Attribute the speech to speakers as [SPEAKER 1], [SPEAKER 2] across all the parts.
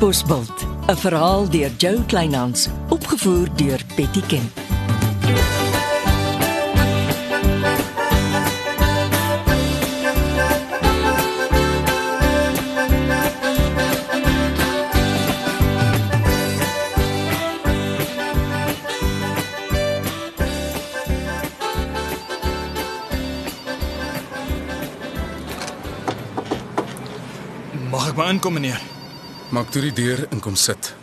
[SPEAKER 1] Bosbult, 'n verhaal deur Jo Kleinhans, opgevoer deur Betty Ken.
[SPEAKER 2] Mag ek maar inkom meneer?
[SPEAKER 3] Maak toe die deur en kom sit.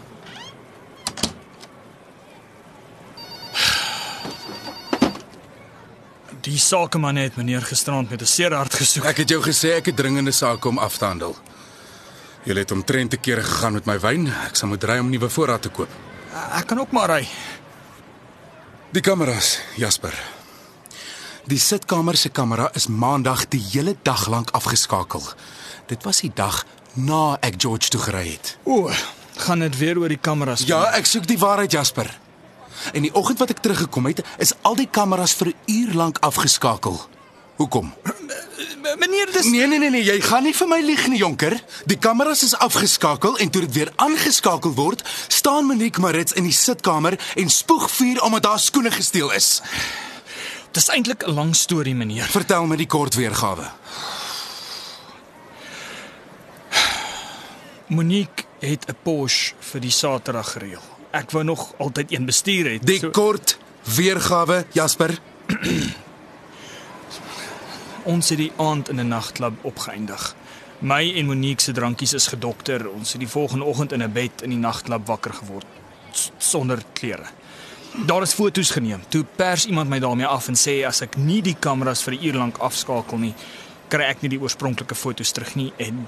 [SPEAKER 2] Die sakeman het meneer gisterand met 'n seer hart gesoek.
[SPEAKER 3] Ek het jou gesê ek het dringende sake om af te handel. Jy het omtrent te kere gegaan met my wyn. Ek sal moet ry om nuwe voorraad te koop.
[SPEAKER 2] Ek kan ook maar ry.
[SPEAKER 3] Die kameras, Jasper. Die sitkamer se kamera is maandag die hele dag lank afgeskakel. Dit was die dag na ek George toe gery het.
[SPEAKER 2] O, gaan dit weer oor die kameras?
[SPEAKER 3] Ja, ek soek die waarheid, Jasper. En die oggend wat ek teruggekom het, is al die kameras vir 'n uur lank afgeskakel. Hoekom?
[SPEAKER 2] meneer? meneer, dis
[SPEAKER 3] Nee nee nee nee, jy gaan nie vir my lieg nie, jonker. Die kameras is afgeskakel en toe dit weer aangeskakel word, staan Monique Marits in die sitkamer en spoeg vuur omdat haar skoene gesteel is.
[SPEAKER 2] dis eintlik 'n lang storie meneer.
[SPEAKER 3] Vertel my die kort weergawe.
[SPEAKER 2] Monique het 'n Porsche vir die Saterdag gereël. Ek wou nog altyd een bestuur het.
[SPEAKER 3] Die kort weergawe, Jasper.
[SPEAKER 2] ons het die aand in 'n nagklub opgeëindig. My en Monique se drankies is gedokter. Ons het die volgende oggend in 'n bed in die nagklub wakker geword s- sonder klere. Daar is foto's geneem. Toe pers iemand my daarmee af en sê as ek nie die kameras vir 'n uur lank afskakel nie, kry ek nie die oorspronklike foto's terug nie en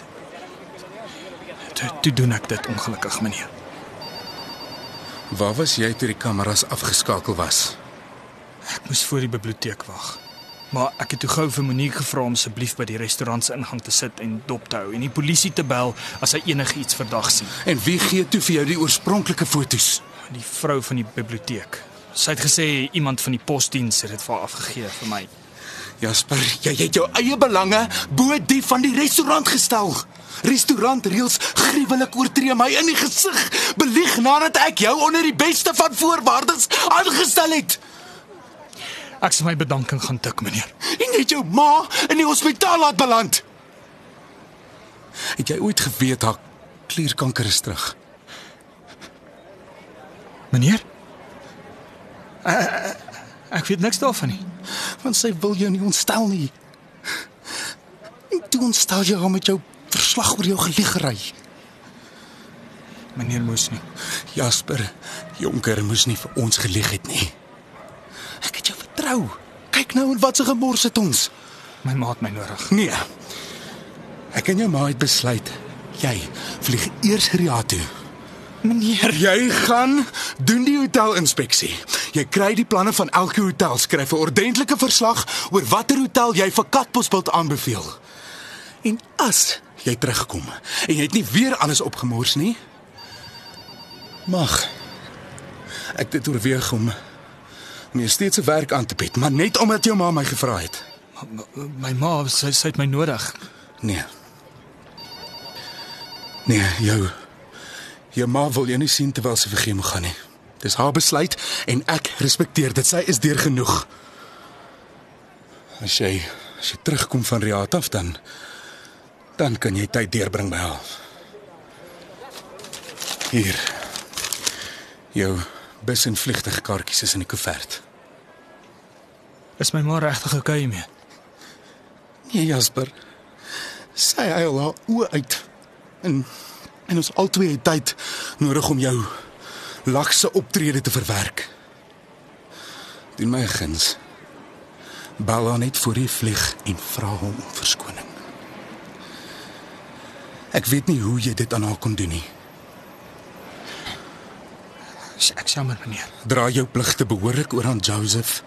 [SPEAKER 2] toe, toe doen ek dit ongelukkig meneer.
[SPEAKER 3] Waar was jy toe die kameras afgeskakel was?
[SPEAKER 2] Ek moes voor die biblioteek wag. Maar ek het toe gou vir Monique gevra om asseblief by die restaurant se ingang te sit en dop te hou en die polisie te bel as hy enigiets verdag sien.
[SPEAKER 3] En wie gee toe vir jou die oorspronklike fotos?
[SPEAKER 2] Die vrou van die biblioteek. Sy het gesê iemand van die posdiens het dit vir haar afgegee vir my.
[SPEAKER 3] Jasper, jy het jou eie belange bo die van die restaurant gestel. Restaurantreëls gruwelik oortree my in die gesig, belieg nadat ek jou onder die beste van voorwaardes aangestel het.
[SPEAKER 2] Ek sal my bedanking gaan tik, meneer.
[SPEAKER 3] En jy het jou ma in die hospitaal laat beland. Het jy ooit geweet haar klierkanker is terug?
[SPEAKER 2] Meneer? Eh, Ek weet niks daarvan nie.
[SPEAKER 3] want sy wil jou nie ontstel nie. En toe ontstel jy haar met jou verslag oor jou geliegery.
[SPEAKER 2] Meneer moes nie.
[SPEAKER 3] Jasper, Jonker moes nie vir ons gelieg het nie. Ek het jou vertrou. Kyk nou en wat se gemors het ons.
[SPEAKER 2] My ma het my nodig.
[SPEAKER 3] Nee. Ek en jou ma het besluit jy vlieg eers Ria toe.
[SPEAKER 2] Meneer,
[SPEAKER 3] Jy gaan doen die hotelinspeksie. Jy kry die planne van elke hotel, skryf 'n ordentlike verslag oor watter hotel jy vir Katbosveld aanbeveel. En as jy terugkom en jy het nie weer alles opgemors nie, mag ek dit oorweeg om my steeds 'n werk aan te bied, maar net omdat jou ma my gevra het.
[SPEAKER 2] my ma sy, sy het my nodig.
[SPEAKER 3] Nee. Nee, jou jou ma wil jou nie sien terwyl sy vergeet moet gaan nie. Dis haar besluit en ek respekteer dit. Sy is deur genoeg. As jy as jy terugkom van Riaat af dan dan kan jy tyd deurbring by haar. Hier. Jou bus en vliegtuigkaartjies is in die koevert.
[SPEAKER 2] Is my ma regtig oukei okay mee?
[SPEAKER 3] Nee, Jasper. Sy huil haar oë uit. En en ons albei het tyd nodig om jou lakse optrede te verwerk. Doen my 'n guns. Bel haar net voor jy vlieg en vra hom om verskoning. Ek weet nie hoe jy dit aan haar kon doen nie.
[SPEAKER 2] Is Ek jammer, meneer.
[SPEAKER 3] Dra jou pligte behoorlik oor aan Joseph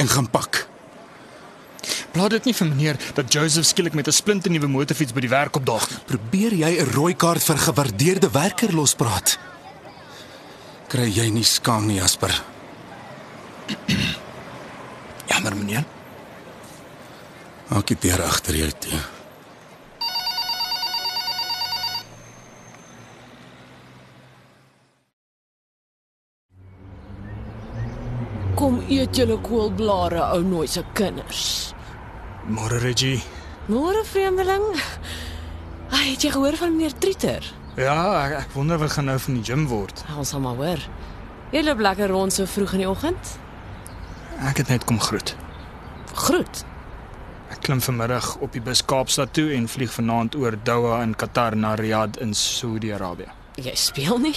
[SPEAKER 3] en gaan pak.
[SPEAKER 2] Plaat dit nie vir meneer dat Joseph skielik met 'n splinternuwe motorfiets by die werk opdaag nie.
[SPEAKER 3] Probeer jy 'n rooi kaart vir gewaardeerde werker lospraat? Kry jy nie skaam nie, Jasper?
[SPEAKER 2] Jammer, meneer.
[SPEAKER 3] Maak die deur agter jou toe.
[SPEAKER 4] Eet julle koolblare ou nooi se kinders.
[SPEAKER 2] Môre Reggie.
[SPEAKER 4] Môre vreemdeling. Ai, het jy gehoor van meneer Trieter?
[SPEAKER 2] Ja, ek, ek wonder wat gaan nou van die gym word.
[SPEAKER 4] Ah, Ons sal maar hoor. Jy loop lekker rond so vroeg in die oggend.
[SPEAKER 2] Ek het net kom groet.
[SPEAKER 4] Groet.
[SPEAKER 2] Ek klim vanmiddag op die bus Kaapstad toe en vlieg vanaand oor Doha in Qatar na Riyadh in Saudi-Arabië.
[SPEAKER 4] Jy speel nie.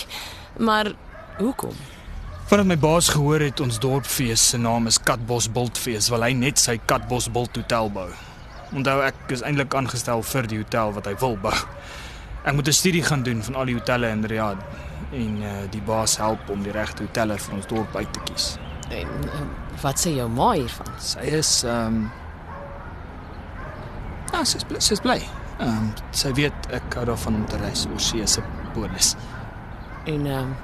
[SPEAKER 4] Maar hoekom?
[SPEAKER 2] Vandat my baas gehoor het ons dorpfees se naam is Katbos Bultfees, wil hy net sy Katbos Bult hotel bou. Onthou ek is eintlik aangestel vir die hotel wat hy wil bou. Ek moet 'n studie gaan doen van al die hotelle in Riyadh en uh, die baas help om die regte hotelle vir ons dorp uit te kies.
[SPEAKER 4] En, en wat sê jou ma hiervan?
[SPEAKER 2] Sy is ehm um... Ja, sy is bly, sy is bly. Ehm um, sy weet ek hou daarvan om te reis oor see se bonus.
[SPEAKER 4] En ehm uh,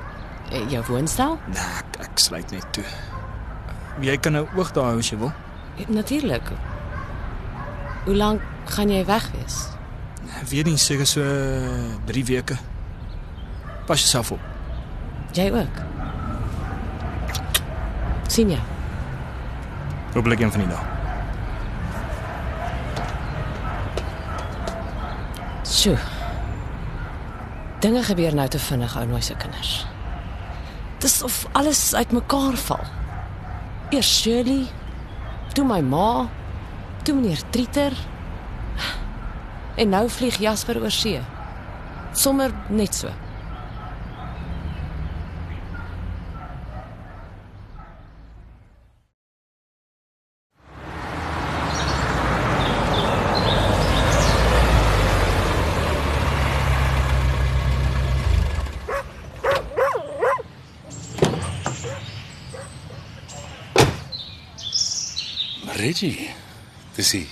[SPEAKER 4] jou woonstel?
[SPEAKER 2] Nee, ek, ek sluit net toe. Jy kan 'n oog daar hou as jy wil.
[SPEAKER 4] Natuurlik. Hoe lank gaan jy weg wees?
[SPEAKER 2] Ek weet nie seker so 3 weke. Pas jouself op.
[SPEAKER 4] Jy ook. sien jou.
[SPEAKER 2] Hopelik een van die dae.
[SPEAKER 4] Sjoe. Dinge gebeur nou te vinnig ou nooi se kinders. Dis of alles uitmekaar val. Eers Shirley, toe my ma, toe meneer Trieter. En nou vlieg Jasper oor see. Sommer net so.
[SPEAKER 3] Reggie, dis die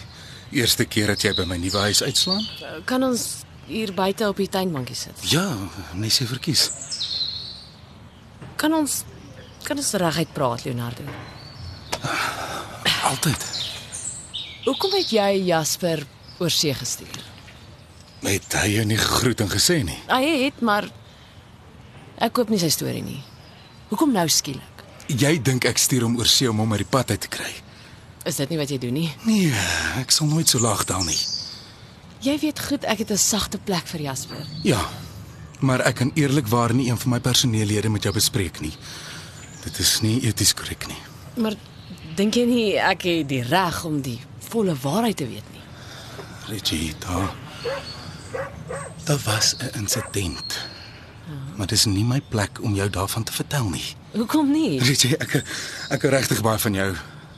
[SPEAKER 3] eerste keer dat jy by my nuwe huis uitslaan?
[SPEAKER 4] Kan ons hier buite op die tuinbankie sit?
[SPEAKER 3] Ja, net se verkies.
[SPEAKER 4] Kan ons kan ons reguit praat, Leonardo?
[SPEAKER 3] Altyd
[SPEAKER 4] Hoekom het jy Jasper oor see gestuur?
[SPEAKER 3] het hy jou nie gegroet en gesê nie.
[SPEAKER 4] Hy het, maar ek koop nie sy storie nie. Hoekom nou skielik?
[SPEAKER 3] Jy dink ek stuur hom oor see om hom uit die pad uit te kry.
[SPEAKER 4] Is dit nie wat jy doen nie?
[SPEAKER 3] Nee, ek sal nooit so laag daal nie.
[SPEAKER 4] Jy weet goed ek het 'n sagte plek vir Jasper.
[SPEAKER 3] Ja. Maar ek kan eerlikwaar nie een van my personeellede met jou bespreek nie. Dit is nie eties korrek nie.
[SPEAKER 4] Maar dink jy nie ek het die reg om die volle waarheid te weet nie?
[SPEAKER 3] Reggie, daar daar was 'n insident. Maar dis nie my plek om jou daarvan te vertel nie.
[SPEAKER 4] Hoekom nie?
[SPEAKER 3] Reggie, ek ek hou regtig baie van jou,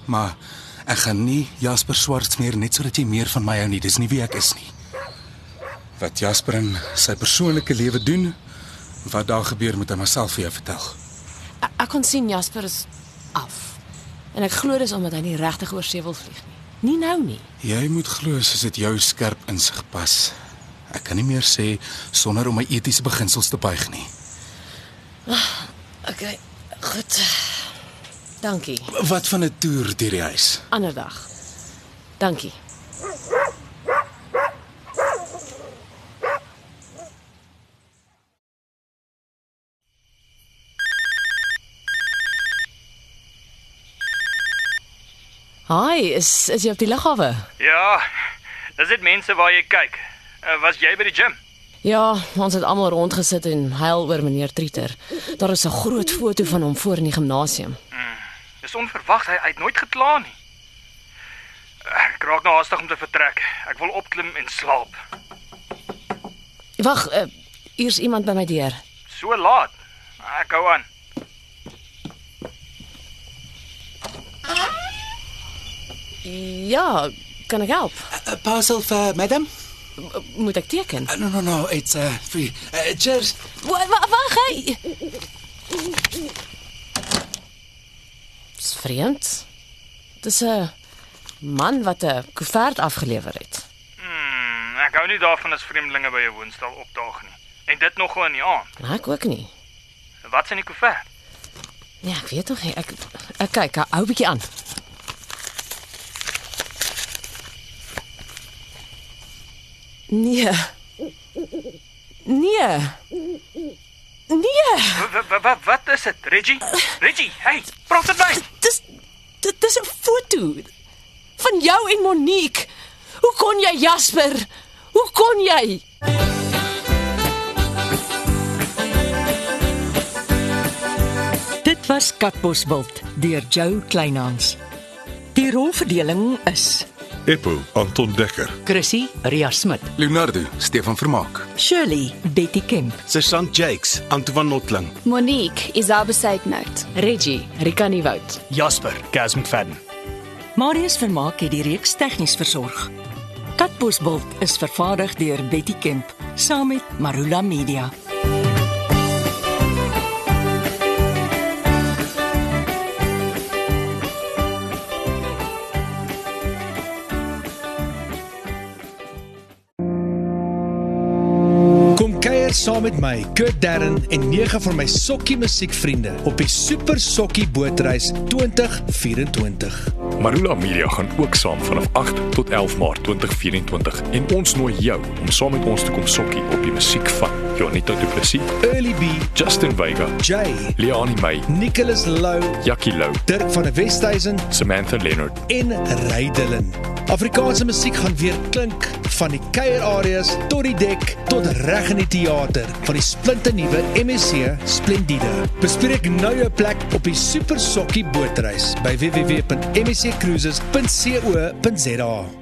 [SPEAKER 3] maar ek gaan nie Jasper Swarts meer net sodat jy meer van my hou nie. Dis nie wie ek is nie. Wat Jasper in sy persoonlike lewe doen, wat daar gebeur moet hy myself vir jou vertel.
[SPEAKER 4] Ek, ek kon sien Jasper is af. En ek glo dis omdat hy nie regtig oor see wil vlieg nie. Nie nou nie.
[SPEAKER 3] Jy moet glo soos dit jou skerp insig pas. Ek kan nie meer sê sonder om my etiese beginsels te buig nie.
[SPEAKER 4] Okay, goed. Dankie.
[SPEAKER 3] Wat van 'n toer deur die huis?
[SPEAKER 4] Ander dag. Dankie. Hi, is is jy op die lughawe?
[SPEAKER 2] Ja. Is dit mense waar jy kyk? Uh, was jy by die gym?
[SPEAKER 4] Ja, ons het almal rondgesit en huil oor meneer Trieter. Daar is 'n groot foto van hom voor in die gimnasium.
[SPEAKER 2] Dis onverwag, hy, hy het nooit gekla nie. Ek raak nou haastig om te vertrek. Ek wil opklim en slaap.
[SPEAKER 4] Wag, uh, hier's iemand by my deur.
[SPEAKER 2] So laat. Ek hou aan.
[SPEAKER 4] Ja, kan ek help?
[SPEAKER 5] A parcel for madam?
[SPEAKER 4] Moet ek teken?
[SPEAKER 5] Uh, no, no, no. It's uh, free. Uh, cheers.
[SPEAKER 4] Wag, wag, hy. Dis vreemd. Dis 'n man wat 'n koevert afgelewer het.
[SPEAKER 2] Hmm, ek hou nie daarvan as vreemdelinge by jou woonstel opdaag nie. En dit nogal in die aand.
[SPEAKER 4] Maar ek ook nie.
[SPEAKER 2] Wat s'n die koevert?
[SPEAKER 4] Nee, ek weet nog nie. Ek ek kyk, ek hou bietjie aan. Nee. Nee. Nee,
[SPEAKER 2] Wat wat is dit, Reggie? Reggie, hey, praat met my.
[SPEAKER 4] dis Dit dis 'n foto van jou en Monique. Hoe kon jy Jasper? Hoe kon jy?
[SPEAKER 1] Dit was Katbosveld deur Jo Kleinhans. Die rolverdeling is
[SPEAKER 6] Eppo Anton Dekker.
[SPEAKER 7] Chrissy Ria Smit,
[SPEAKER 3] Leonardo, Stefan Vermaak.
[SPEAKER 1] Shirley Betty Kemp,
[SPEAKER 8] Sergeant Jakes, Antoine Notling.
[SPEAKER 9] Monique Isabel Seidnout.
[SPEAKER 4] Reggie Rikani Wout.
[SPEAKER 2] Jasper Gaz McFadden.
[SPEAKER 1] Marius Vermaak het die reeks tegnies versorg. Katbosveld is vervaardig deur Betty Kemp saam met Marula Media.
[SPEAKER 10] Kom kuier saam met my, Kurt Darren en nege van my sokkie musiekvriende op die Super Sokkie Bootreis 2024.
[SPEAKER 6] Marula Media gaan ook saam vanaf 8 tot 11 Maart 2024 en ons nooi jou om saam met ons te kom sokkie op die musiek van Jonita Du Plessis,
[SPEAKER 10] Early B,
[SPEAKER 6] Justin Vega,
[SPEAKER 10] Jay,
[SPEAKER 6] Leani May,
[SPEAKER 10] Nicholas Lou,
[SPEAKER 6] Jackie Lou,
[SPEAKER 10] Dirk van der Westhuizen
[SPEAKER 6] Samantha Leonard.
[SPEAKER 10] en Ray Dillon. Afrikaanse musiek gaan weer klink van die kuierareas tot die dek tot reg in die teater van die splinternuwe MSC Splendide. Bespreek nou jou plek op die Super Sokkie bootreis by www.msccruises.co.za.